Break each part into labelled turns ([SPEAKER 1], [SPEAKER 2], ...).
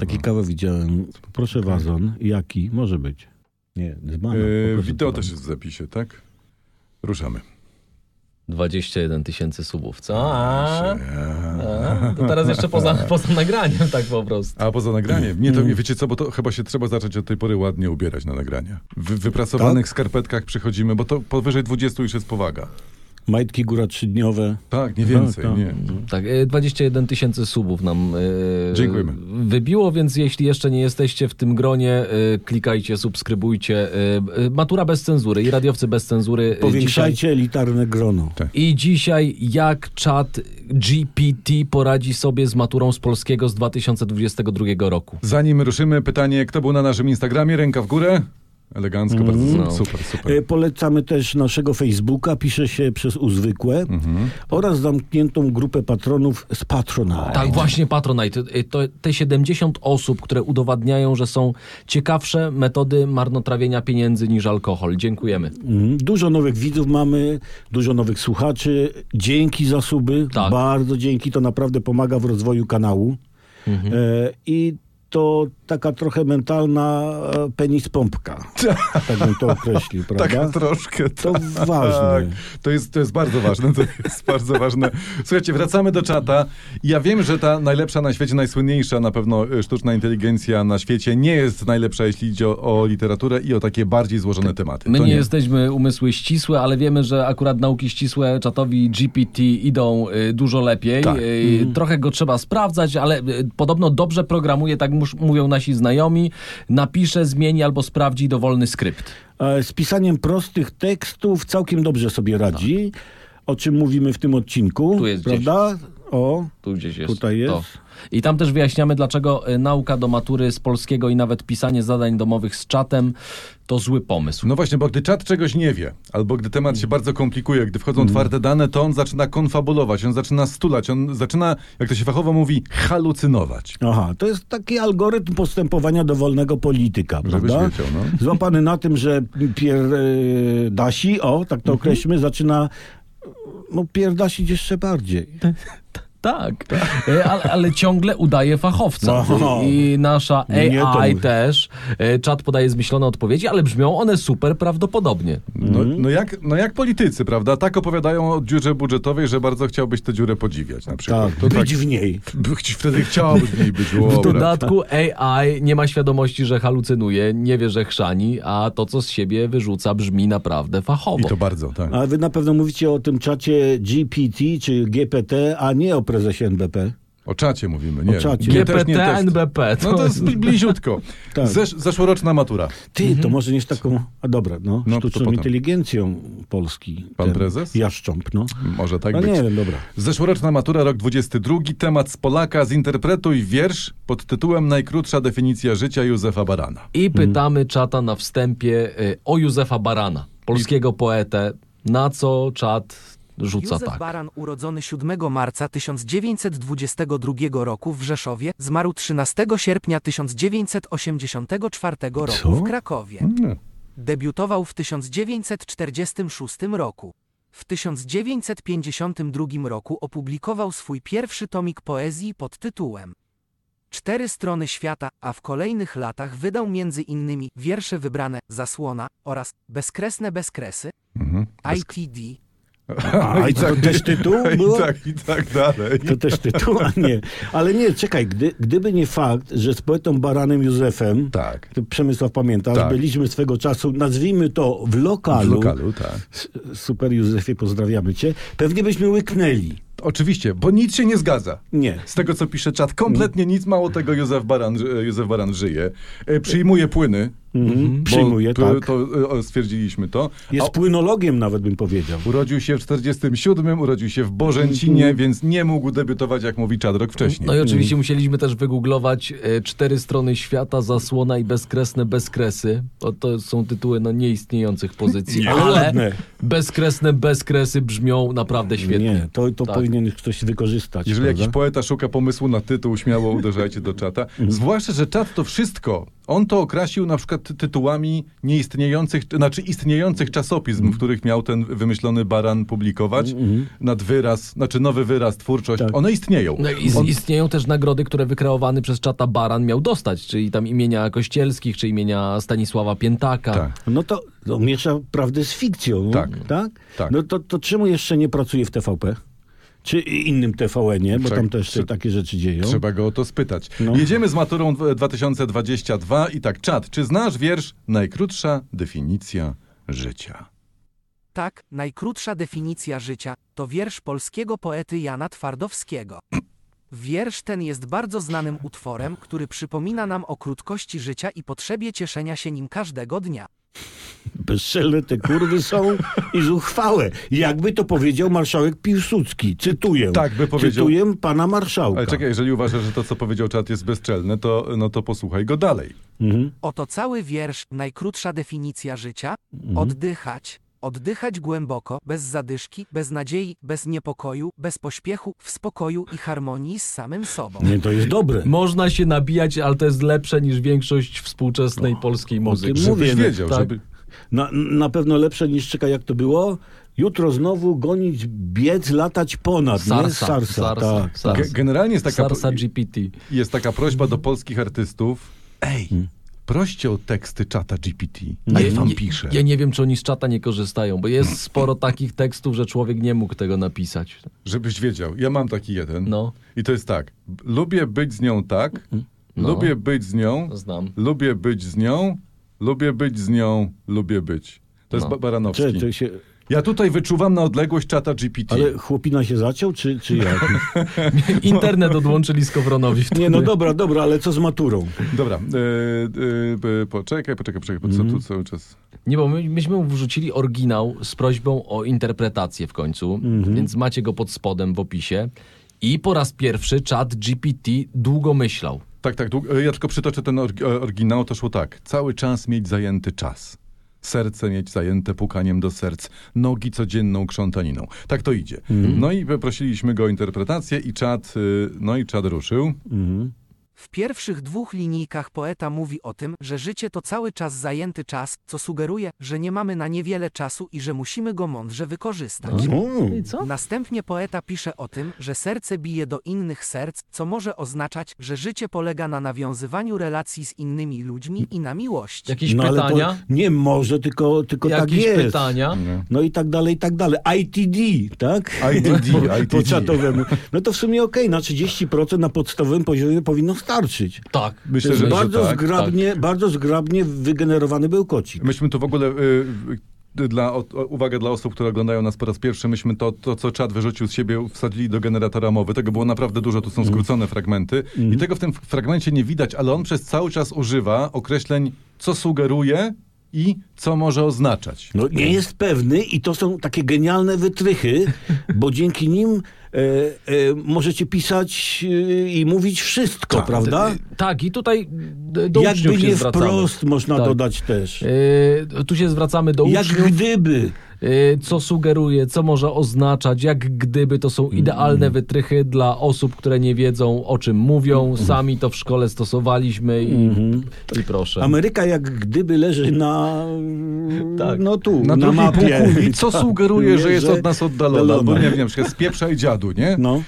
[SPEAKER 1] Taki kawę widziałem. Mhm. Proszę wazon. Jaki? Może być. Nie, z banan.
[SPEAKER 2] Yy,
[SPEAKER 1] no, Pokażę
[SPEAKER 2] wideo
[SPEAKER 1] to
[SPEAKER 2] też
[SPEAKER 1] wam.
[SPEAKER 2] jest w zapisie, tak? Ruszamy.
[SPEAKER 3] 21 tysięcy subów, co? A,
[SPEAKER 2] Eee.
[SPEAKER 3] a, to teraz jeszcze poza, poza nagraniem, tak po prostu.
[SPEAKER 2] A poza nagraniem, nie, to
[SPEAKER 1] Mm.
[SPEAKER 2] nie wiecie co, bo to chyba się trzeba zacząć od tej pory ładnie ubierać na nagrania. W
[SPEAKER 1] Tak?
[SPEAKER 2] wyprasowanych skarpetkach przychodzimy, bo to powyżej 20 już jest powaga.
[SPEAKER 1] Majtki góra trzydniowe.
[SPEAKER 2] Tak, nie więcej,
[SPEAKER 1] Tak, tak.
[SPEAKER 2] nie.
[SPEAKER 3] Tak, e, 21 tysięcy subów nam e,
[SPEAKER 2] Dziękujemy.
[SPEAKER 3] wybiło, więc jeśli jeszcze nie jesteście w tym gronie, e, klikajcie, subskrybujcie. e, e, Matura bez cenzury i radiowcy bez cenzury. e, dzisiaj-
[SPEAKER 1] Powiększajcie elitarne grono.
[SPEAKER 2] Tak.
[SPEAKER 3] I dzisiaj jak czat GPT poradzi sobie z maturą z polskiego z 2022 roku.
[SPEAKER 2] Zanim ruszymy, pytanie, kto był na naszym Instagramie? Ręka w górę? Elegancko, bardzo
[SPEAKER 3] No.
[SPEAKER 2] super, super.
[SPEAKER 1] Mm. E, Polecamy też naszego Facebooka, pisze się przez Uzwykłe,
[SPEAKER 2] Mhm.
[SPEAKER 1] oraz zamkniętą grupę patronów z Patronite.
[SPEAKER 3] Tak, właśnie Patronite. Y, To, te 70 osób, które udowadniają, że są ciekawsze metody marnotrawienia pieniędzy niż alkohol. Dziękujemy.
[SPEAKER 1] Mhm. Dużo nowych widzów mamy, dużo nowych słuchaczy. Dzięki za suby,
[SPEAKER 3] Tak.
[SPEAKER 1] bardzo dzięki, to naprawdę pomaga w rozwoju kanału.
[SPEAKER 3] Mhm.
[SPEAKER 1] E, I to taka trochę mentalna e, penis pompka. tak bym to określił,
[SPEAKER 2] Taka
[SPEAKER 1] prawda?
[SPEAKER 2] Tak troszkę.
[SPEAKER 1] To
[SPEAKER 3] Tak.
[SPEAKER 1] ważne.
[SPEAKER 2] Tak, To jest, to jest bardzo ważne, to jest bardzo ważne. Słuchajcie, wracamy do czata. Ja wiem, że ta najlepsza na świecie, najsłynniejsza na pewno y, sztuczna inteligencja na świecie nie jest najlepsza, jeśli idzie o, o literaturę i o takie bardziej złożone tematy.
[SPEAKER 3] My
[SPEAKER 2] To
[SPEAKER 3] nie, jesteśmy umysły ścisłe, ale wiemy, że akurat nauki ścisłe czatowi GPT idą y, dużo lepiej.
[SPEAKER 2] Tak.
[SPEAKER 3] Y, Trochę go trzeba sprawdzać, ale y, podobno dobrze programuje, tak mus- mówią nasi znajomi. Napisze, zmieni albo sprawdzi dowolny skrypt.
[SPEAKER 1] E, Z pisaniem prostych tekstów całkiem dobrze sobie radzi, o czym mówimy w tym odcinku.
[SPEAKER 3] Tak. Tu jest
[SPEAKER 1] prawda? O,
[SPEAKER 3] Tu gdzieś jest.
[SPEAKER 1] Tutaj jest.
[SPEAKER 3] To. I tam też wyjaśniamy, dlaczego y, nauka do matury z polskiego i nawet pisanie zadań domowych z czatem to zły pomysł.
[SPEAKER 2] No właśnie, bo gdy czat czegoś nie wie, albo gdy temat się bardzo komplikuje, gdy wchodzą
[SPEAKER 3] Mhm.
[SPEAKER 2] twarde dane, to on zaczyna konfabulować, on zaczyna stulać, on zaczyna, jak to się fachowo mówi, halucynować.
[SPEAKER 1] Aha, to jest taki algorytm postępowania dowolnego polityka,
[SPEAKER 2] Żebyś
[SPEAKER 1] prawda?
[SPEAKER 2] wiedział, no.
[SPEAKER 1] Złapany na tym, że pier... e, Dasi, o, tak to
[SPEAKER 2] Mhm.
[SPEAKER 1] określmy, zaczyna no pierdasić jeszcze bardziej.
[SPEAKER 3] Tak, Y, ale, ale ciągle udaje fachowca.
[SPEAKER 1] No.
[SPEAKER 3] I nasza
[SPEAKER 1] Nie, nie, to
[SPEAKER 3] AI
[SPEAKER 1] mów-
[SPEAKER 3] też. Y, Czat podaje zmyślone odpowiedzi, ale brzmią one super prawdopodobnie.
[SPEAKER 2] No,
[SPEAKER 3] Mhm.
[SPEAKER 2] no, jak, no jak politycy, prawda? Tak opowiadają o dziurze budżetowej, że bardzo chciałbyś tę dziurę podziwiać na przykład.
[SPEAKER 1] Tak, być w niej.
[SPEAKER 2] By- chci- Wtedy chciałbyś w niej być.
[SPEAKER 3] W
[SPEAKER 2] Dobra.
[SPEAKER 3] dodatku AI nie ma świadomości, że halucynuje, nie wie, że chrzani, a to, co z siebie wyrzuca, brzmi naprawdę fachowo.
[SPEAKER 2] I to bardzo, tak.
[SPEAKER 1] A wy na pewno mówicie o tym czacie GPT czy GPT, a nie o prezesie NBP.
[SPEAKER 2] O czacie mówimy, nie.
[SPEAKER 1] czacie.
[SPEAKER 2] Nie, też nie
[SPEAKER 3] GPT,
[SPEAKER 2] test.
[SPEAKER 3] NBP.
[SPEAKER 2] No to jest bli- bliziutko.
[SPEAKER 1] Tak.
[SPEAKER 2] Zesz, zeszłoroczna matura.
[SPEAKER 1] Ty, to może nie z taką, a dobra, no,
[SPEAKER 2] No, to
[SPEAKER 1] sztuczną
[SPEAKER 2] potem.
[SPEAKER 1] inteligencją Polski.
[SPEAKER 2] Pan
[SPEAKER 1] ten
[SPEAKER 2] prezes?
[SPEAKER 1] Jaszcząb, no.
[SPEAKER 2] Może tak
[SPEAKER 1] No
[SPEAKER 2] być.
[SPEAKER 1] nie wiem, dobra.
[SPEAKER 2] Zeszłoroczna matura, rok 22, temat z Polaka, zinterpretuj wiersz pod tytułem Najkrótsza definicja życia Józefa Barana.
[SPEAKER 3] I
[SPEAKER 1] Mhm.
[SPEAKER 3] pytamy czata na wstępie y, o Józefa Barana, polskiego poetę, na co czat rzuca
[SPEAKER 4] Józef
[SPEAKER 3] tak.
[SPEAKER 4] Baran, urodzony 7 marca 1922 roku w Rzeszowie, zmarł 13 sierpnia 1984 roku
[SPEAKER 1] Co?
[SPEAKER 4] w Krakowie.
[SPEAKER 2] Nie.
[SPEAKER 4] Debiutował w 1946 roku. W 1952 roku opublikował swój pierwszy tomik poezji pod tytułem Cztery strony świata, a w kolejnych latach wydał między innymi wiersze wybrane, zasłona oraz bezkresne bezkresy,
[SPEAKER 2] Mhm.
[SPEAKER 4] ITD,
[SPEAKER 1] A, i to też tytuł było?
[SPEAKER 2] I tak, i tak dalej.
[SPEAKER 1] To też tytuł, a nie. Ale nie, czekaj, gdy, gdyby nie fakt, że z poetą Baranem Józefem,
[SPEAKER 2] Tak.
[SPEAKER 1] ty, Przemysław pamiętasz,
[SPEAKER 2] Tak.
[SPEAKER 1] byliśmy swego czasu, nazwijmy to w
[SPEAKER 2] W
[SPEAKER 1] lokalu,
[SPEAKER 2] lokalu, tak.
[SPEAKER 1] S- super Józefie, pozdrawiamy cię, pewnie byśmy łyknęli.
[SPEAKER 2] Oczywiście, bo nic się nie zgadza.
[SPEAKER 1] Nie.
[SPEAKER 2] Z tego, co pisze czat, kompletnie nic mało tego Józef Baran, ży- Józef Baran żyje. E, Przyjmuje płyny.
[SPEAKER 1] Mhm.
[SPEAKER 2] bo
[SPEAKER 1] Przyjmuję,
[SPEAKER 2] p-
[SPEAKER 1] tak.
[SPEAKER 2] To e, o, stwierdziliśmy to.
[SPEAKER 1] Jest
[SPEAKER 2] A
[SPEAKER 1] płynologiem nawet bym powiedział.
[SPEAKER 2] urodził się w 47, urodził się w
[SPEAKER 1] Mhm.
[SPEAKER 2] Bożęcinie, więc nie mógł debiutować, jak mówi czat, rok wcześniej.
[SPEAKER 3] No i oczywiście musieliśmy też wygooglować e, cztery strony świata, zasłona i bezkresne bezkresy. O, to są tytuły no, nieistniejących pozycji,
[SPEAKER 1] Nie. Ale
[SPEAKER 3] ale
[SPEAKER 1] ładne.
[SPEAKER 3] bezkresne bezkresy brzmią naprawdę świetnie.
[SPEAKER 1] Nie, to, to
[SPEAKER 3] Tak.
[SPEAKER 1] powinien ktoś wykorzystać.
[SPEAKER 2] Jeżeli
[SPEAKER 1] prawda? Mhm.
[SPEAKER 2] jakiś poeta szuka pomysłu na tytuł, śmiało uderzajcie do czata. Zwłaszcza, że czat to wszystko On to okrasił na przykład ty- tytułami nieistniejących, znaczy istniejących czasopism,
[SPEAKER 1] Mhm.
[SPEAKER 2] w których miał ten wymyślony baran publikować, nad wyraz, znaczy nowy wyraz, twórczość.
[SPEAKER 1] Tak.
[SPEAKER 2] One istnieją.
[SPEAKER 3] No i z-
[SPEAKER 2] On,
[SPEAKER 3] istnieją też nagrody, które wykreowany przez czata Baran miał dostać, czyli tam imienia Kościelskich, czy imienia Stanisława Piętaka.
[SPEAKER 2] tak.
[SPEAKER 1] No to, to miesza prawdę z fikcją.
[SPEAKER 2] Tak.
[SPEAKER 1] tak?
[SPEAKER 2] Tak.
[SPEAKER 1] No to, to czemu jeszcze nie pracuje w TVP? Czy innym TVN-ie, bo
[SPEAKER 2] Trzeba-
[SPEAKER 1] tam też się
[SPEAKER 2] trze-
[SPEAKER 1] takie rzeczy dzieją.
[SPEAKER 2] Trzeba go o to spytać.
[SPEAKER 1] No.
[SPEAKER 2] Jedziemy z maturą dw- 2022 i tak, czat, czy znasz wiersz Najkrótsza definicja życia?
[SPEAKER 4] Tak, najkrótsza definicja życia to wiersz polskiego poety Jana Twardowskiego. Wiersz ten jest bardzo znanym utworem, który przypomina nam o krótkości życia i potrzebie cieszenia się nim każdego dnia.
[SPEAKER 1] Bezczelne te kurwy są i zuchwałe. Jakby to powiedział marszałek Piłsudski. Cytuję.
[SPEAKER 2] Tak by powiedział.
[SPEAKER 1] Cytuję pana marszałka.
[SPEAKER 2] Ale czekaj, jeżeli uważasz, że to, co powiedział czat jest bezczelne, to, no to posłuchaj go dalej.
[SPEAKER 1] Mhm.
[SPEAKER 4] Oto cały wiersz, najkrótsza definicja życia. Oddychać. Oddychać głęboko, bez zadyszki, bez nadziei, bez niepokoju, bez pośpiechu, w spokoju i harmonii z samym sobą.
[SPEAKER 1] Nie, to jest dobre.
[SPEAKER 3] Można się nabijać, ale to jest lepsze niż większość współczesnej polskiej muzyki.
[SPEAKER 1] tym
[SPEAKER 2] Żebyś
[SPEAKER 1] Mówię, no,
[SPEAKER 2] wiedział,
[SPEAKER 3] tak.
[SPEAKER 2] żeby...
[SPEAKER 1] Na, na pewno lepsze niż czekaj, jak to było. Jutro znowu gonić, biec, latać ponad. nie?
[SPEAKER 3] Sarsa.
[SPEAKER 1] Sarsa,
[SPEAKER 3] Sarsa,
[SPEAKER 1] tak.
[SPEAKER 3] Sarsa.
[SPEAKER 2] Ge- Generalnie jest taka,
[SPEAKER 3] Sarsa GPT.
[SPEAKER 2] jest taka prośba do polskich artystów. Ej, proście o teksty czata GPT. A ja wam piszę.
[SPEAKER 3] Ja Hmm. nie wiem, czy oni z czata nie korzystają, bo jest sporo takich tekstów, że człowiek nie mógł tego napisać.
[SPEAKER 2] Żebyś wiedział, ja mam taki jeden.
[SPEAKER 3] No. Hmm.
[SPEAKER 2] I to jest tak. B- Lubię być z nią tak, lubię być z nią,
[SPEAKER 3] No. Znam.
[SPEAKER 2] lubię być z nią, lubię być z nią, lubię być. To jest
[SPEAKER 3] No.
[SPEAKER 2] ba- Baranowski.
[SPEAKER 1] Czy, czy się,
[SPEAKER 2] Ja tutaj wyczuwam na odległość czata GPT.
[SPEAKER 1] ale chłopina się zaciął, czy, czy jak?
[SPEAKER 3] Internet odłączyli Skowronowi. wtedy.
[SPEAKER 1] Nie, no dobra, dobra, ale co z maturą?
[SPEAKER 2] Dobra, e, e, e, poczekaj, poczekaj, poczekaj, bo
[SPEAKER 3] Mhm.
[SPEAKER 2] co tu cały czas...
[SPEAKER 3] Nie, bo my, myśmy wrzucili oryginał z prośbą o interpretację w końcu, więc macie go pod spodem w opisie. I po raz pierwszy czat GPT długo myślał.
[SPEAKER 2] Tak, tak. dług- Ja tylko przytoczę ten orgi- e, oryginał. To szło tak. Cały czas mieć zajęty czas. Serce mieć zajęte pukaniem do serc, nogi codzienną krzątaniną. Tak to idzie. No i prosiliśmy go o interpretację i czad, y, no i czad ruszył.
[SPEAKER 4] W pierwszych dwóch linijkach poeta mówi o tym, że życie to cały czas zajęty czas, co sugeruje, że nie mamy na niewiele czasu i że musimy go mądrze wykorzystać.
[SPEAKER 2] No.
[SPEAKER 1] O,
[SPEAKER 3] co?
[SPEAKER 4] Następnie poeta pisze o tym, że serce bije do innych serc, co może oznaczać, że życie polega na nawiązywaniu relacji z innymi ludźmi i na miłości.
[SPEAKER 3] Jakieś
[SPEAKER 1] No, ale po-
[SPEAKER 3] pytania?
[SPEAKER 1] nie może, tylko, tylko tak
[SPEAKER 3] Jakieś
[SPEAKER 1] jest.
[SPEAKER 3] pytania?
[SPEAKER 1] No i tak dalej, i tak dalej. ITD, tak?
[SPEAKER 2] ITD, ITD.
[SPEAKER 1] Po czatowemu. No to w sumie okej, na 30% na podstawowym poziomie powinno starczyć.
[SPEAKER 3] Tak.
[SPEAKER 1] To
[SPEAKER 2] Myślę,
[SPEAKER 1] jest
[SPEAKER 2] że, że
[SPEAKER 1] bardzo,
[SPEAKER 2] tak.
[SPEAKER 1] zgrabnie, bardzo zgrabnie wygenerowany bełkocik.
[SPEAKER 2] Myśmy to w ogóle... y, y, dla, o, o- uwaga dla osób, które oglądają nas po raz pierwszy, myśmy to, to, co czad wyrzucił z siebie, wsadzili do generatora mowy. Tego było naprawdę dużo, tu są skrócone fragmenty. I tego w tym f- fragmencie nie widać, ale on przez cały czas używa określeń, co sugeruje i co może oznaczać.
[SPEAKER 1] No, nie jest pewny i to są takie genialne wytrychy, bo dzięki nim e, e, możecie pisać e, i mówić wszystko, prawda?
[SPEAKER 3] Tak, i tutaj d- do
[SPEAKER 1] Jakby
[SPEAKER 3] uczniów się
[SPEAKER 1] nie
[SPEAKER 3] zwracamy.
[SPEAKER 1] wprost można
[SPEAKER 3] Tak.
[SPEAKER 1] dodać też.
[SPEAKER 3] Yy, tu się zwracamy do
[SPEAKER 1] Jak
[SPEAKER 3] uczniów,
[SPEAKER 1] gdyby.
[SPEAKER 3] yy, co sugeruje, co może oznaczać, jak gdyby to
[SPEAKER 2] Mm.
[SPEAKER 3] są idealne wytrychy dla osób, które nie wiedzą o czym
[SPEAKER 1] Mm.
[SPEAKER 3] mówią, sami to w szkole stosowaliśmy i,
[SPEAKER 1] Mhm.
[SPEAKER 3] i proszę.
[SPEAKER 1] Ameryka jak gdyby leży na,
[SPEAKER 3] Tak.
[SPEAKER 1] no tu, na,
[SPEAKER 2] drugiej
[SPEAKER 1] mapie.
[SPEAKER 2] półkuli, co
[SPEAKER 1] Tak,
[SPEAKER 2] sugeruje, że
[SPEAKER 1] mierze
[SPEAKER 2] jest od nas oddalona. Bo nie wiem, na spieprzaj dziadu, nie?
[SPEAKER 1] No.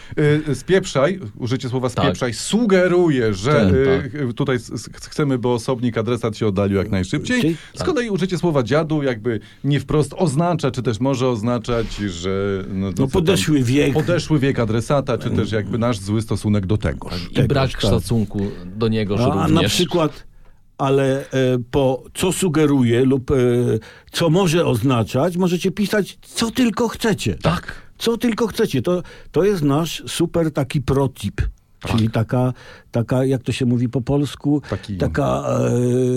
[SPEAKER 2] Y, Spieprzaj, użycie słowa
[SPEAKER 3] Tak.
[SPEAKER 2] spieprzaj, sugeruje, że
[SPEAKER 3] Tak,
[SPEAKER 2] y, y, tutaj s- s- chcemy, by osobnik, adresat się oddalił jak najszybciej.
[SPEAKER 1] Czyli-
[SPEAKER 2] Z kolei użycie słowa dziadu jakby nie wprost oznacza, czy też może oznaczać, że... No,
[SPEAKER 1] No
[SPEAKER 2] to co tam-
[SPEAKER 1] podeszły wiek.
[SPEAKER 2] Podeszły wiek adresata, czy też jakby nasz zły stosunek do tegoż.
[SPEAKER 3] I brak
[SPEAKER 1] tak.
[SPEAKER 3] szacunku do niego, że
[SPEAKER 1] A
[SPEAKER 3] również...
[SPEAKER 1] na przykład, ale e, po co sugeruje lub e, co może oznaczać, możecie pisać co tylko chcecie.
[SPEAKER 3] Tak.
[SPEAKER 1] Co tylko chcecie. To, to jest nasz super taki protip.
[SPEAKER 2] Tak.
[SPEAKER 1] Czyli taka, taka, jak to się mówi po polsku,
[SPEAKER 2] Taki-
[SPEAKER 1] taka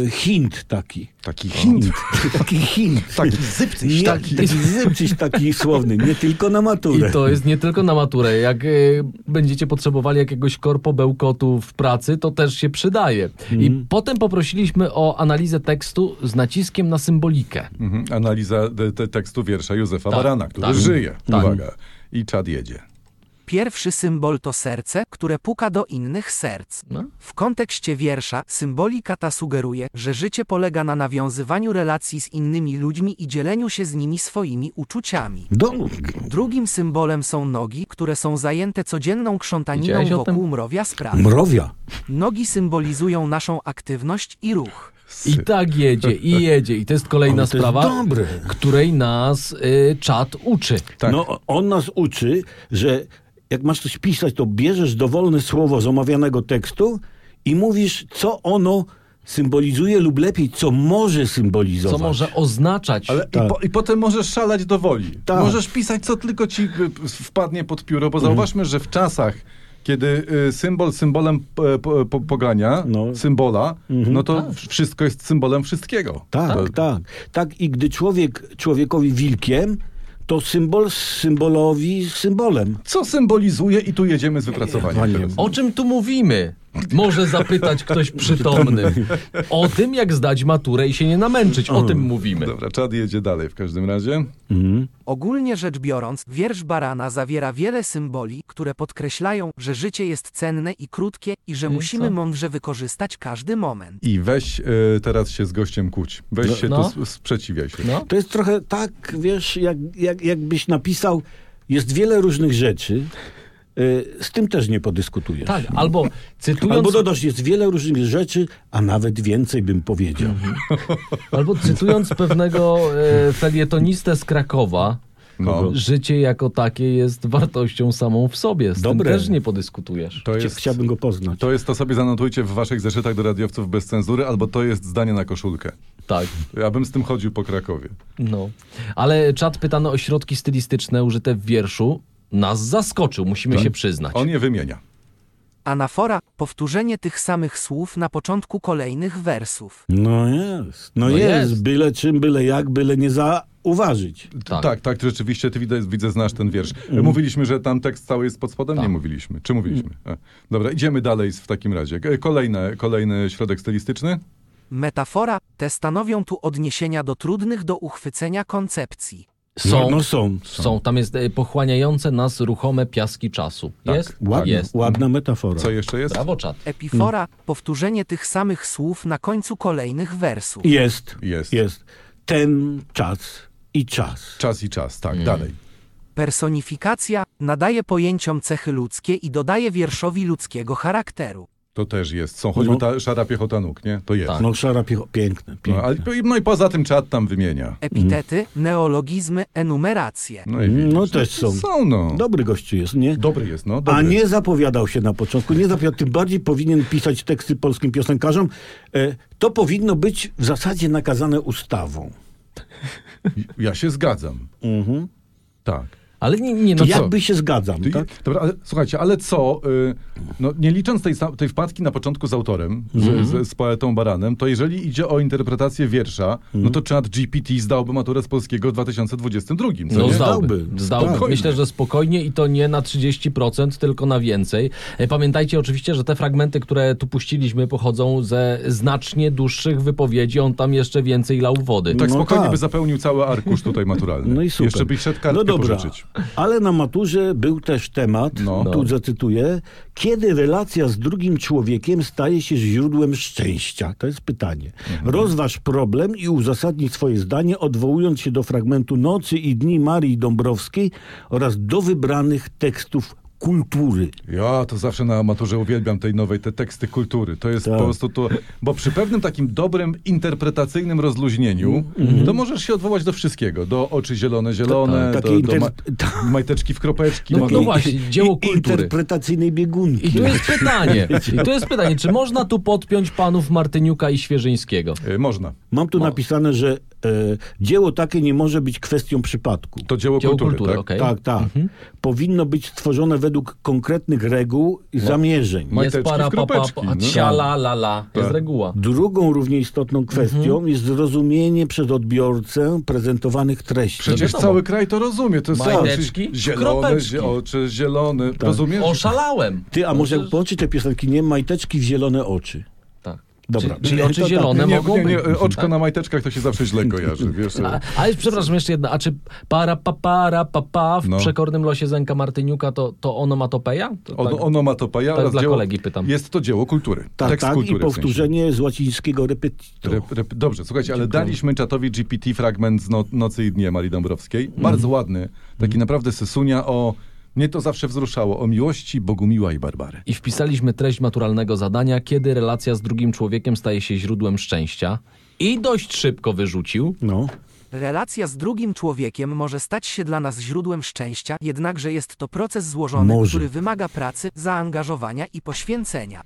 [SPEAKER 1] e, hint taki.
[SPEAKER 2] Taki hint. Tak.
[SPEAKER 1] Taki hint.
[SPEAKER 2] Taki zypcyś,
[SPEAKER 1] Nie,
[SPEAKER 2] taki.
[SPEAKER 1] taki zypczyś taki słowny, nie tylko na
[SPEAKER 3] I
[SPEAKER 1] maturę.
[SPEAKER 3] to jest nie tylko na maturę. Jak y, będziecie potrzebowali jakiegoś korpo bełkotu w pracy, to też się przydaje.
[SPEAKER 1] Mhm.
[SPEAKER 3] I potem poprosiliśmy o analizę tekstu z naciskiem na symbolikę.
[SPEAKER 2] Mhm. Analiza de, te, tekstu wiersza Józefa
[SPEAKER 3] Tak,
[SPEAKER 2] Barana, który
[SPEAKER 3] tak.
[SPEAKER 2] żyje.
[SPEAKER 3] Tak.
[SPEAKER 2] Uwaga. I czad jedzie.
[SPEAKER 4] Pierwszy symbol to serce, które puka do innych serc.
[SPEAKER 3] No.
[SPEAKER 4] W kontekście wiersza symbolika ta sugeruje, że życie polega na nawiązywaniu relacji z innymi ludźmi i dzieleniu się z nimi swoimi uczuciami.
[SPEAKER 1] Do...
[SPEAKER 4] Drugim symbolem są nogi, które są zajęte codzienną krzątaniną
[SPEAKER 3] Wiedziałeś o
[SPEAKER 4] wokół
[SPEAKER 3] tym?
[SPEAKER 4] mrowia spraw.
[SPEAKER 1] Mrowia.
[SPEAKER 4] Nogi symbolizują naszą aktywność i ruch.
[SPEAKER 3] I tak jedzie, i jedzie. I to jest kolejna
[SPEAKER 1] Ale to jest
[SPEAKER 3] sprawa,
[SPEAKER 1] dobre.
[SPEAKER 3] której nas y, czat uczy.
[SPEAKER 2] Tak.
[SPEAKER 1] No, on nas uczy, że jak masz coś pisać, to bierzesz dowolne słowo z omawianego tekstu i mówisz, co ono symbolizuje lub lepiej, co może
[SPEAKER 3] Co
[SPEAKER 1] symbolizować.
[SPEAKER 3] może oznaczać.
[SPEAKER 2] Ale
[SPEAKER 1] Tak.
[SPEAKER 2] i, po, I potem możesz szalać do woli.
[SPEAKER 1] Tak.
[SPEAKER 2] Możesz pisać, co tylko ci y, p- wpadnie pod pióro, bo zauważmy, że w czasach, kiedy y, symbol symbolem p- p- po- pogania,
[SPEAKER 1] No.
[SPEAKER 2] symbola, no to wszystko jest symbolem wszystkiego.
[SPEAKER 1] Tak,
[SPEAKER 2] To-
[SPEAKER 1] tak, tak. I gdy człowiek człowiekowi wilkiem, to symbol z symbolowi z symbolem.
[SPEAKER 2] Co symbolizuje i tu jedziemy z wypracowaniem.
[SPEAKER 1] Panie-
[SPEAKER 2] teraz.
[SPEAKER 3] O czym tu mówimy? Może zapytać ktoś przytomny. O tym, jak zdać maturę i się nie namęczyć. O
[SPEAKER 1] Mm.
[SPEAKER 3] tym mówimy.
[SPEAKER 2] Dobra, czad jedzie dalej w każdym razie.
[SPEAKER 4] Ogólnie rzecz biorąc, wiersz Barana zawiera wiele symboli, które podkreślają, że życie jest cenne i krótkie i że
[SPEAKER 3] i
[SPEAKER 4] musimy
[SPEAKER 3] co?
[SPEAKER 4] mądrze wykorzystać każdy moment.
[SPEAKER 2] I weź y, teraz się z gościem kłóć. Weź się
[SPEAKER 3] No.
[SPEAKER 2] tu s- sprzeciwiaj się.
[SPEAKER 3] No.
[SPEAKER 1] To jest trochę tak, wiesz, jak, jak, jakbyś napisał, jest wiele różnych rzeczy, y, z tym też nie podyskutujesz.
[SPEAKER 3] Tak, albo cytując,
[SPEAKER 1] Albo
[SPEAKER 3] albo,
[SPEAKER 1] dodasz, jest wiele różnych rzeczy, a nawet więcej bym powiedział.
[SPEAKER 3] cytując pewnego e, felietonistę z Krakowa,
[SPEAKER 2] No.
[SPEAKER 3] życie jako takie jest wartością samą w sobie. Z
[SPEAKER 1] Dobre.
[SPEAKER 3] tym też nie podyskutujesz.
[SPEAKER 2] To
[SPEAKER 1] Chcia-
[SPEAKER 2] jest,
[SPEAKER 1] Chciałbym go poznać.
[SPEAKER 2] to jest, to sobie zanotujcie w waszych zeszytach do radiowców bez cenzury, albo to jest zdanie na koszulkę.
[SPEAKER 3] Tak,
[SPEAKER 2] Ja bym z tym chodził po Krakowie.
[SPEAKER 3] no. Ale czat pytano o środki stylistyczne użyte w wierszu. Nas zaskoczył, musimy
[SPEAKER 2] Tak.
[SPEAKER 3] się przyznać.
[SPEAKER 2] On je wymienia.
[SPEAKER 4] Anafora powtórzenie tych samych słów na początku kolejnych wersów.
[SPEAKER 1] No jest. No,
[SPEAKER 3] No
[SPEAKER 1] jest.
[SPEAKER 3] jest.
[SPEAKER 1] Byle czym, byle jak, byle nie zauważyć.
[SPEAKER 3] Tak. Mm.
[SPEAKER 2] tak, tak rzeczywiście, ty widzę, widzę znasz ten wiersz. Mówiliśmy, że tam tekst cały jest pod spodem?
[SPEAKER 3] Tak.
[SPEAKER 2] Nie mówiliśmy. Czy mówiliśmy? E,
[SPEAKER 3] Mm.
[SPEAKER 2] Dobra, idziemy dalej z- w takim razie. E, Kolejne, kolejny środek stylistyczny?
[SPEAKER 4] Metafora te stanowią tu odniesienia do trudnych do uchwycenia koncepcji.
[SPEAKER 1] No,
[SPEAKER 3] Są,
[SPEAKER 1] no są.
[SPEAKER 3] są. Tam jest e, pochłaniające nas ruchome piaski czasu.
[SPEAKER 2] Tak.
[SPEAKER 3] Jest?
[SPEAKER 1] Ładna,
[SPEAKER 3] Jest.
[SPEAKER 1] ładna metafora.
[SPEAKER 2] Co jeszcze jest?
[SPEAKER 3] Tak. Brawo, czat.
[SPEAKER 4] Epifora powtórzenie tych samych słów na końcu kolejnych wersów.
[SPEAKER 1] Jest.
[SPEAKER 2] Jest.
[SPEAKER 1] Jest. Ten czas i czas.
[SPEAKER 2] Czas i czas,
[SPEAKER 3] Mm.
[SPEAKER 2] tak, dalej.
[SPEAKER 4] Personifikacja nadaje pojęciom cechy ludzkie i dodaje wierszowi ludzkiego charakteru.
[SPEAKER 2] To też jest. Są choćby
[SPEAKER 1] No.
[SPEAKER 2] ta szara piechota nóg, nie? To
[SPEAKER 3] Tak.
[SPEAKER 2] jest.
[SPEAKER 1] No szara piecho- piękne,
[SPEAKER 2] No,
[SPEAKER 1] piękne.
[SPEAKER 2] ale, no i poza tym czat tam wymienia.
[SPEAKER 4] Epitety, neologizmy, enumeracje.
[SPEAKER 2] No, i widzisz.
[SPEAKER 1] No, też są.
[SPEAKER 2] Są, no.
[SPEAKER 1] Dobry gościu jest, nie?
[SPEAKER 2] Dobry jest, no. Dobry.
[SPEAKER 1] A nie zapowiadał się na początku, nie zapowiadał, tym bardziej powinien pisać teksty polskim piosenkarzom. E, to powinno być w zasadzie nakazane ustawą.
[SPEAKER 2] Ja się zgadzam.
[SPEAKER 1] Mhm.
[SPEAKER 2] Tak.
[SPEAKER 3] Ale nie, nie no
[SPEAKER 1] To
[SPEAKER 3] co?
[SPEAKER 1] Jakby się zgadzam,
[SPEAKER 2] Ty,
[SPEAKER 1] tak?
[SPEAKER 2] dobra, ale, słuchajcie, ale co, y, no, nie licząc tej, sa- tej wpadki na początku z autorem, z,
[SPEAKER 1] Mhm.
[SPEAKER 2] z, z poetą Baranem, to jeżeli idzie o interpretację wiersza,
[SPEAKER 1] Mhm.
[SPEAKER 2] no to czat GPT zdałby maturę z polskiego w 2022. Co
[SPEAKER 3] No
[SPEAKER 2] nie?
[SPEAKER 3] zdałby.
[SPEAKER 1] Zdałby.
[SPEAKER 3] zdałby.
[SPEAKER 2] Spokojnie.
[SPEAKER 3] Myślę, że spokojnie i to nie na 30%, tylko na więcej. E, Pamiętajcie oczywiście, że te fragmenty, które tu puściliśmy, pochodzą ze znacznie dłuższych wypowiedzi. On tam jeszcze więcej lał wody.
[SPEAKER 2] Tak
[SPEAKER 1] No
[SPEAKER 2] spokojnie
[SPEAKER 1] tak.
[SPEAKER 2] by zapełnił cały arkusz tutaj maturalny.
[SPEAKER 1] No i super.
[SPEAKER 2] Jeszcze by szedł kartkę
[SPEAKER 1] no dobra,
[SPEAKER 2] pożyczyć.
[SPEAKER 1] ale na maturze był też temat,
[SPEAKER 2] No.
[SPEAKER 1] tu zacytuję, kiedy relacja z drugim człowiekiem staje się źródłem szczęścia? To jest pytanie.
[SPEAKER 2] Mhm.
[SPEAKER 1] Rozważ problem i uzasadnij swoje zdanie, odwołując się do fragmentu Nocy i Dni Marii Dąbrowskiej oraz do wybranych tekstów kultury.
[SPEAKER 2] Ja to zawsze na maturze uwielbiam tej nowej, te teksty kultury. To jest
[SPEAKER 1] Tak.
[SPEAKER 2] po prostu to, bo przy pewnym takim dobrym, interpretacyjnym rozluźnieniu, to możesz się odwołać do wszystkiego. Do oczy zielone, zielone,
[SPEAKER 1] Mm, Tak,
[SPEAKER 2] do,
[SPEAKER 1] takie
[SPEAKER 2] do
[SPEAKER 1] inter-
[SPEAKER 2] ma-
[SPEAKER 1] tak.
[SPEAKER 2] majteczki w kropeczki.
[SPEAKER 3] No
[SPEAKER 2] ma-
[SPEAKER 3] to właśnie, dzieło
[SPEAKER 1] I-
[SPEAKER 3] kultury.
[SPEAKER 1] Interpretacyjnej biegunki.
[SPEAKER 3] I tu jest pytanie, i tu jest pytanie, czy można tu podpiąć panów Martyniuka i Świeżyńskiego?
[SPEAKER 2] Y, Można.
[SPEAKER 1] Mam
[SPEAKER 3] No.
[SPEAKER 1] tu napisane, że e, dzieło takie nie może być kwestią przypadku.
[SPEAKER 2] To dzieło,
[SPEAKER 3] Dzieło
[SPEAKER 2] kultury,
[SPEAKER 3] kultury,
[SPEAKER 2] tak?
[SPEAKER 3] okej.
[SPEAKER 1] Tak, tak. Powinno być stworzone według konkretnych reguł
[SPEAKER 2] No.
[SPEAKER 1] i zamierzeń.
[SPEAKER 2] Majteczki
[SPEAKER 3] Jest para,
[SPEAKER 2] w
[SPEAKER 3] pa, pa,
[SPEAKER 2] kropeczki, no.
[SPEAKER 3] pa, cia, la, la, la. Jest
[SPEAKER 2] Tak.
[SPEAKER 3] reguła.
[SPEAKER 1] Drugą równie istotną kwestią
[SPEAKER 2] Mhm.
[SPEAKER 1] jest zrozumienie przez odbiorcę prezentowanych treści.
[SPEAKER 2] Przecież
[SPEAKER 3] No wiadomo.
[SPEAKER 2] cały kraj to rozumie. To jest
[SPEAKER 3] Majteczki,
[SPEAKER 2] oczy zielone,
[SPEAKER 3] kropeczki.
[SPEAKER 2] zie- oczy zielone.
[SPEAKER 1] Tak.
[SPEAKER 2] Rozumiesz?
[SPEAKER 3] Oszalałem.
[SPEAKER 1] Ty, a może połączyć te piosenki, nie? Majteczki w zielone oczy.
[SPEAKER 3] Tak.
[SPEAKER 1] Dobra.
[SPEAKER 3] Czyli- czyli oczy
[SPEAKER 1] To tak.
[SPEAKER 3] zielone. One
[SPEAKER 2] nie,
[SPEAKER 3] mogą
[SPEAKER 2] nie, nie,
[SPEAKER 3] być. tak?
[SPEAKER 2] oczko na majteczkach to się zawsze źle kojarzy, wiesz.
[SPEAKER 3] A, ale przepraszam, jeszcze jedna. A czy para, pa, para, pa, pa w
[SPEAKER 2] No.
[SPEAKER 3] przekornym losie Zenka Martyniuka to, to onomatopeja? To
[SPEAKER 2] On,
[SPEAKER 3] tak-
[SPEAKER 2] onomatopeja
[SPEAKER 3] tak
[SPEAKER 2] oraz
[SPEAKER 3] dla
[SPEAKER 2] dzieło,
[SPEAKER 3] kolegi pytam.
[SPEAKER 2] Jest to dzieło kultury.
[SPEAKER 1] Tak,
[SPEAKER 2] tekst
[SPEAKER 1] tak, i
[SPEAKER 2] kultury w sensie.
[SPEAKER 1] powtórzenie z łacińskiego repetito.
[SPEAKER 2] Rep, rep, dobrze, słuchajcie, ale daliśmy czatowi GPT fragment z no, Nocy i Dnie Marii Dąbrowskiej.
[SPEAKER 1] Mhm.
[SPEAKER 2] Bardzo ładny, taki naprawdę sysunia o... Mnie to zawsze wzruszało, o miłości Bogumiła i Barbary.
[SPEAKER 3] I wpisaliśmy treść maturalnego zadania, kiedy relacja z drugim człowiekiem staje się źródłem szczęścia. I dość szybko wyrzucił.
[SPEAKER 1] No.
[SPEAKER 4] Relacja z drugim człowiekiem może stać się dla nas źródłem szczęścia, jednakże jest to proces złożony,
[SPEAKER 1] Może.
[SPEAKER 4] który wymaga pracy, zaangażowania i poświęcenia.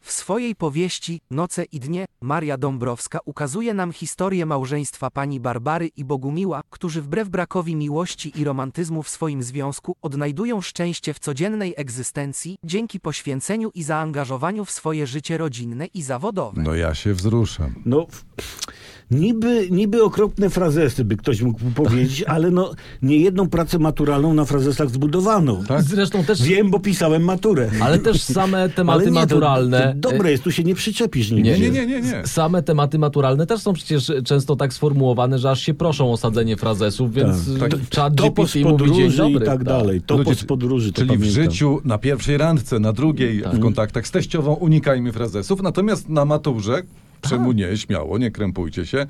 [SPEAKER 4] W swojej powieści Noce i dnie Maria Dąbrowska ukazuje nam historię małżeństwa pani Barbary i Bogumiła, którzy wbrew brakowi miłości i romantyzmu w swoim związku odnajdują szczęście w codziennej egzystencji dzięki poświęceniu i zaangażowaniu w swoje życie rodzinne i zawodowe.
[SPEAKER 2] No ja się wzruszam.
[SPEAKER 1] No, w- niby, niby okropne frazesy by ktoś mógł powiedzieć, ale no, nie jedną pracę maturalną na frazesach zbudowano.
[SPEAKER 2] Tak.
[SPEAKER 3] Zresztą też,
[SPEAKER 1] Wiem, bo pisałem maturę.
[SPEAKER 3] ale też same tematy
[SPEAKER 1] Ale nie, to-
[SPEAKER 3] maturalne.
[SPEAKER 1] To, dobre jest, tu się nie przyczepisz nigdzie.
[SPEAKER 2] Nie, nie, nie, nie, nie.
[SPEAKER 3] Same tematy maturalne też są przecież często tak sformułowane, że aż się proszą o sadzenie frazesów, więc
[SPEAKER 2] Tak.
[SPEAKER 3] y, czat
[SPEAKER 1] Topos
[SPEAKER 3] GPT mówi dzień
[SPEAKER 1] podróży i
[SPEAKER 3] dobry.
[SPEAKER 1] tak dalej. Topos
[SPEAKER 2] Ludzie,
[SPEAKER 1] podróży, to
[SPEAKER 2] Czyli
[SPEAKER 1] pamiętam. Mhm.
[SPEAKER 2] w życiu, na pierwszej randce, na drugiej, w kontaktach z teściową unikajmy frazesów, natomiast na maturze, czemu nie, śmiało, nie krępujcie się,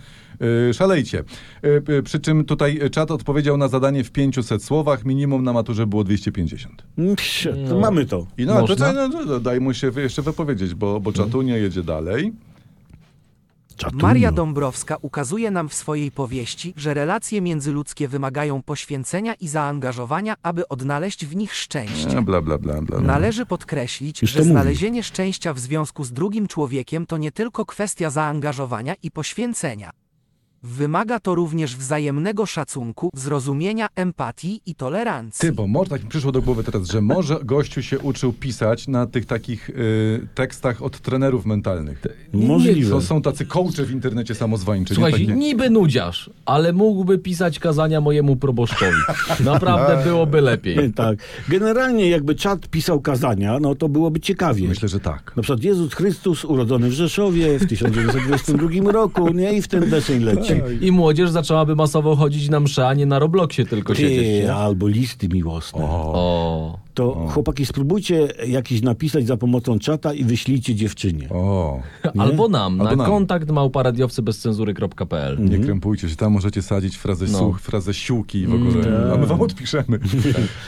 [SPEAKER 2] yy, szalejcie. Yy, yy, przy czym tutaj czat odpowiedział na zadanie w 500 słowach, minimum na maturze było 250.
[SPEAKER 1] Psz, Mm, to Mamy to.
[SPEAKER 2] I no, to,
[SPEAKER 3] Można?
[SPEAKER 2] to, to, to daj mu się jeszcze wypowiedzieć, bo, bo czatu nie jedzie dalej.
[SPEAKER 1] Czatunio.
[SPEAKER 4] Maria Dąbrowska ukazuje nam w swojej powieści, że relacje międzyludzkie wymagają poświęcenia i zaangażowania, aby odnaleźć w nich szczęście.
[SPEAKER 2] A, E, bla, bla, bla, bla. bla.
[SPEAKER 4] Należy podkreślić,
[SPEAKER 1] Już to
[SPEAKER 4] że
[SPEAKER 1] mówię.
[SPEAKER 4] znalezienie szczęścia w związku z drugim człowiekiem to nie tylko kwestia zaangażowania i poświęcenia. Wymaga to również wzajemnego szacunku, zrozumienia, empatii i tolerancji.
[SPEAKER 2] Ty, bo może tak mi przyszło do głowy teraz, że może gościu się uczył pisać na tych takich yy, tekstach od trenerów mentalnych.
[SPEAKER 1] Możliwe.
[SPEAKER 2] To są tacy coache w internecie samozwańczy.
[SPEAKER 3] Słuchaj,
[SPEAKER 2] nie?
[SPEAKER 3] niby nudziarz, ale mógłby pisać kazania mojemu proboszczowi. Naprawdę byłoby lepiej.
[SPEAKER 1] Tak. Generalnie jakby czat pisał kazania, no to byłoby ciekawie.
[SPEAKER 2] Myślę, że tak.
[SPEAKER 1] Na przykład Jezus Chrystus urodzony w Rzeszowie w 1922 roku, nie? I w ten deseń leci.
[SPEAKER 2] Tak.
[SPEAKER 3] I młodzież zaczęłaby masowo chodzić na msze, a nie na Robloxie tylko siedzieć.
[SPEAKER 1] Ty,
[SPEAKER 3] nie?
[SPEAKER 1] albo listy miłosne.
[SPEAKER 3] O.
[SPEAKER 1] To chłopaki, spróbujcie jakiś napisać za pomocą czata i wyślijcie dziewczynie.
[SPEAKER 2] O,
[SPEAKER 3] Albo nam,
[SPEAKER 2] Albo
[SPEAKER 3] na
[SPEAKER 2] nam.
[SPEAKER 3] kontakt małparadiowcy bez cenzury.pl.
[SPEAKER 2] nie
[SPEAKER 1] Mhm.
[SPEAKER 2] krępujcie się, tam możecie sadzić frazę
[SPEAKER 3] No.
[SPEAKER 2] such, frazę siłki i w
[SPEAKER 1] Mm,
[SPEAKER 2] ogóle,
[SPEAKER 1] tak.
[SPEAKER 2] a my wam odpiszemy.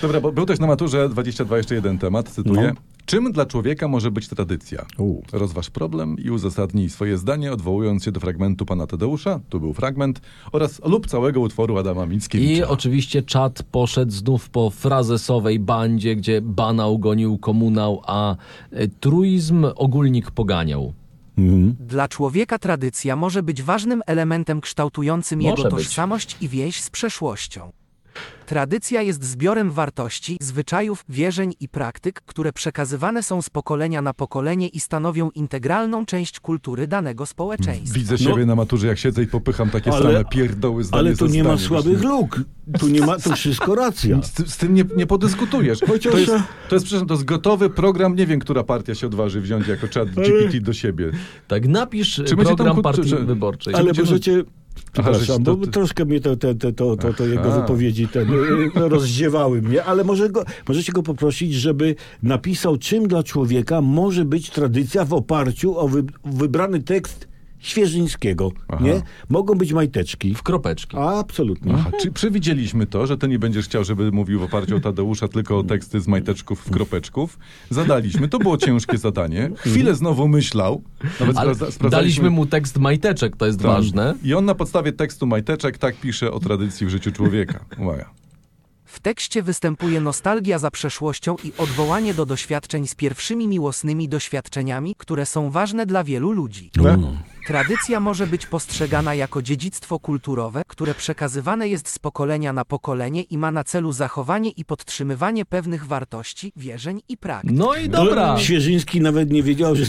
[SPEAKER 2] Dobra, bo był też na maturze 22 jeszcze jeden temat, cytuję.
[SPEAKER 1] No.
[SPEAKER 2] Czym dla człowieka może być tradycja?
[SPEAKER 1] U.
[SPEAKER 2] Rozważ problem i uzasadnij swoje zdanie, odwołując się do fragmentu pana Tadeusza, tu był fragment, oraz lub całego utworu Adama
[SPEAKER 3] I
[SPEAKER 2] Mickiewicza.
[SPEAKER 3] oczywiście czat poszedł znów po frazesowej bandzie, gdzie banał gonił komunał, a e, truizm ogólnik poganiał.
[SPEAKER 4] Dla człowieka tradycja może być ważnym elementem kształtującym
[SPEAKER 3] Może
[SPEAKER 4] jego
[SPEAKER 3] być.
[SPEAKER 4] tożsamość i więź z przeszłością. Tradycja jest zbiorem wartości, zwyczajów, wierzeń i praktyk, które przekazywane są z pokolenia na pokolenie i stanowią integralną część kultury danego społeczeństwa.
[SPEAKER 2] Widzę siebie na maturze, jak siedzę i popycham takie
[SPEAKER 1] no. Ale-
[SPEAKER 2] same pierdoły zdanie
[SPEAKER 1] Ale tu
[SPEAKER 2] za
[SPEAKER 1] nie ma
[SPEAKER 2] zdanie.
[SPEAKER 1] słabych luk. Tu nie ma, to wszystko racja.
[SPEAKER 2] Z, ty- z tym nie, nie podyskutujesz.
[SPEAKER 1] Chociaż-
[SPEAKER 2] To jest, to jest, przepraszam, to jest gotowy program. Nie wiem, która partia się odważy wziąć jako czat GPT do siebie.
[SPEAKER 3] Tak napisz
[SPEAKER 2] Czy
[SPEAKER 3] e,
[SPEAKER 2] będzie tam
[SPEAKER 3] program
[SPEAKER 2] ku-
[SPEAKER 3] partii
[SPEAKER 2] czy-
[SPEAKER 3] wyborczej.
[SPEAKER 1] Ale
[SPEAKER 2] będziemy-
[SPEAKER 1] możecie... Przepraszam,
[SPEAKER 2] żeś
[SPEAKER 1] bo
[SPEAKER 2] to ty-
[SPEAKER 1] troszkę mnie to, te, te, to, to, to jego
[SPEAKER 2] Aha.
[SPEAKER 1] wypowiedzi ten, y, no, rozdziewały mnie, ale może go, możecie go poprosić, żeby napisał, czym dla człowieka może być tradycja w oparciu o wy, wybrany tekst Świeżyńskiego. Nie? Mogą być majteczki.
[SPEAKER 3] W kropeczki.
[SPEAKER 1] Absolutnie.
[SPEAKER 3] Mhm.
[SPEAKER 2] A czy przewidzieliśmy to, że ty nie będziesz chciał, żeby mówił w oparciu o Tadeusza, tylko o teksty z majteczków w kropeczków? Zadaliśmy. To było ciężkie zadanie. Chwilę znowu myślał. Nawet
[SPEAKER 3] Ale
[SPEAKER 2] sprawdza- sprawdzaliśmy-
[SPEAKER 3] daliśmy mu tekst majteczek, to jest
[SPEAKER 2] Tak.
[SPEAKER 3] ważne.
[SPEAKER 2] I on na podstawie tekstu majteczek tak pisze o tradycji w życiu człowieka. Uwaga.
[SPEAKER 4] W tekście występuje nostalgia za przeszłością i odwołanie do doświadczeń z pierwszymi miłosnymi doświadczeniami, które są ważne dla wielu ludzi. Tradycja może być postrzegana jako dziedzictwo kulturowe, które przekazywane jest z pokolenia na pokolenie i ma na celu zachowanie i podtrzymywanie pewnych wartości, wierzeń i praktyk.
[SPEAKER 3] No i dobra.
[SPEAKER 1] Świeżyński nawet nie wiedział, że,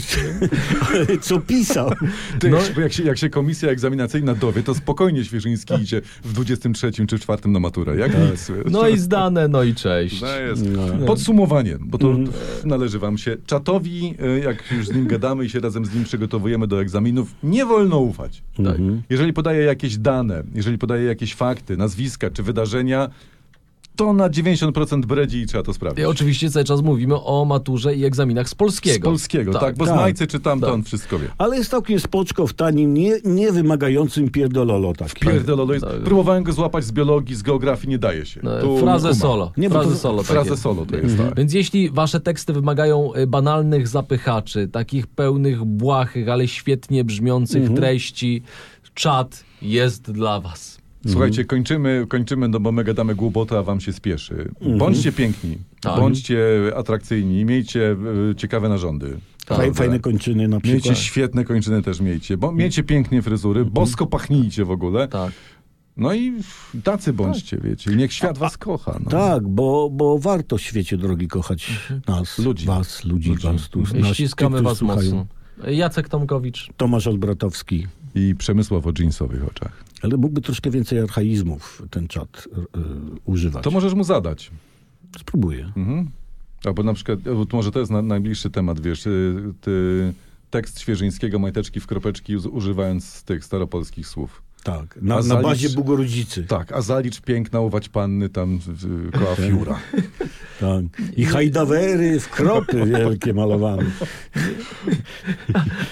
[SPEAKER 1] co pisał.
[SPEAKER 2] Ty,
[SPEAKER 3] No.
[SPEAKER 2] bo jak, się, jak się komisja egzaminacyjna dowie, to spokojnie Świeżyński idzie w 23 czy 4 na maturę. Jak nic. wiesz.
[SPEAKER 3] No i zdane, no i cześć.
[SPEAKER 2] No jest. Podsumowanie, bo to
[SPEAKER 1] Mm.
[SPEAKER 2] należy wam się. Czatowi, y, jak już z nim gadamy i się razem z nim przygotowujemy do egzaminów, nie wolno ufać.
[SPEAKER 1] Tak.
[SPEAKER 3] Mhm.
[SPEAKER 2] Jeżeli podaje jakieś dane, jeżeli podaje jakieś fakty, nazwiska czy wydarzenia, to na 90% bredzi i trzeba to sprawdzić.
[SPEAKER 3] I oczywiście cały czas mówimy o maturze i egzaminach z polskiego.
[SPEAKER 2] Z polskiego, tak, bo
[SPEAKER 1] tak.
[SPEAKER 2] z Majcy czy tam,
[SPEAKER 3] Tak.
[SPEAKER 2] to on wszystko wie.
[SPEAKER 1] Ale jest całkiem spoczko w tanim, nie, nie wymagającym pierdololo tak.
[SPEAKER 2] Pierdololo jest.
[SPEAKER 3] Tak.
[SPEAKER 2] no Próbowałem go złapać z biologii, z geografii, nie daje się.
[SPEAKER 3] E,
[SPEAKER 2] Tu
[SPEAKER 3] Frazę
[SPEAKER 2] kuma.
[SPEAKER 3] solo.
[SPEAKER 1] Nie, bo
[SPEAKER 3] frazę
[SPEAKER 1] to- Mhm.
[SPEAKER 3] solo.
[SPEAKER 2] Frazę
[SPEAKER 3] tak
[SPEAKER 2] solo to jest, tak.
[SPEAKER 3] Więc jeśli wasze teksty wymagają y, banalnych zapychaczy, takich pełnych błahych, ale świetnie brzmiących
[SPEAKER 2] Mhm.
[SPEAKER 3] treści, czat jest dla was.
[SPEAKER 1] Mhm.
[SPEAKER 2] Słuchajcie, kończymy, kończymy, no bo my gadamy głupotę, a wam się spieszy.
[SPEAKER 1] Mhm.
[SPEAKER 2] Bądźcie piękni,
[SPEAKER 3] Tak.
[SPEAKER 2] bądźcie atrakcyjni, miejcie e, ciekawe narządy.
[SPEAKER 1] Tak. Faj, fajne kończyny na przykład. Mhm.
[SPEAKER 2] Miejcie świetne kończyny też miejcie, bo miejcie pięknie fryzury, bosko pachnijcie w ogóle.
[SPEAKER 3] Tak.
[SPEAKER 2] No i tacy bądźcie, wiecie. Niech świat was kocha. No.
[SPEAKER 1] Tak, bo, bo warto w świecie, drogi, kochać nas,
[SPEAKER 2] Mhm. Ludzi.
[SPEAKER 1] was, ludzi,
[SPEAKER 2] Ludzi. Mhm.
[SPEAKER 1] was. Tu, nas,
[SPEAKER 3] Ściskamy
[SPEAKER 1] tych, którzy
[SPEAKER 3] was
[SPEAKER 1] słuchają.
[SPEAKER 3] mocno. Jacek Tomkowicz.
[SPEAKER 1] Tomasz Odbratowski.
[SPEAKER 2] I Przemysław o dżinsowych oczach.
[SPEAKER 1] Ale mógłby troszkę więcej archaizmów ten czat y, y, używać.
[SPEAKER 2] To możesz mu zadać.
[SPEAKER 1] Spróbuję.
[SPEAKER 2] Mhm. Albo na przykład, albo to może to jest na, najbliższy temat, wiesz, y, ty, tekst Świeżyńskiego, majteczki w kropeczki, uz- używając tych staropolskich słów.
[SPEAKER 1] Tak,
[SPEAKER 2] A
[SPEAKER 1] na, na
[SPEAKER 2] zalicz-
[SPEAKER 1] bazie Bogorodzicy.
[SPEAKER 2] Tak, a zalicz piękna, uwać panny tam y, koła fiura.
[SPEAKER 1] Tak. I hajdawery w kropy wielkie malowane.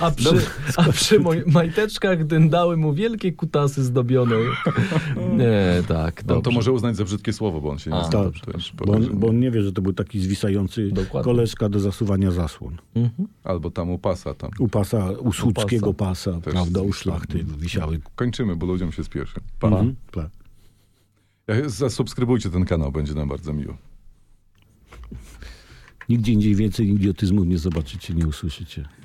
[SPEAKER 3] A przy, a przy moj, majteczkach dyndały mu wielkie kutasy zdobione. Nie, tak,
[SPEAKER 2] On to
[SPEAKER 3] dobrze.
[SPEAKER 2] może uznać za brzydkie słowo, bo on się nie
[SPEAKER 3] A,
[SPEAKER 2] zna.
[SPEAKER 1] dobrze,
[SPEAKER 2] to już
[SPEAKER 1] Bo on,
[SPEAKER 2] pokaże.
[SPEAKER 1] bo on nie wie, że to był taki zwisający
[SPEAKER 3] Dokładnie.
[SPEAKER 1] koleżka do zasuwania zasłon.
[SPEAKER 2] Albo tam u pasa tam.
[SPEAKER 1] U pasa, Mhm. u słuckiego
[SPEAKER 3] U
[SPEAKER 1] pasa, prawda, u szlachty wisiały.
[SPEAKER 2] Kończymy, bo ludziom się spieszy. Pa.
[SPEAKER 1] Mhm. Tak.
[SPEAKER 2] Ja- Zasubskrybujcie ten kanał, będzie nam bardzo miło.
[SPEAKER 1] Nigdzie indziej więcej idiotyzmów nie zobaczycie, nie usłyszycie.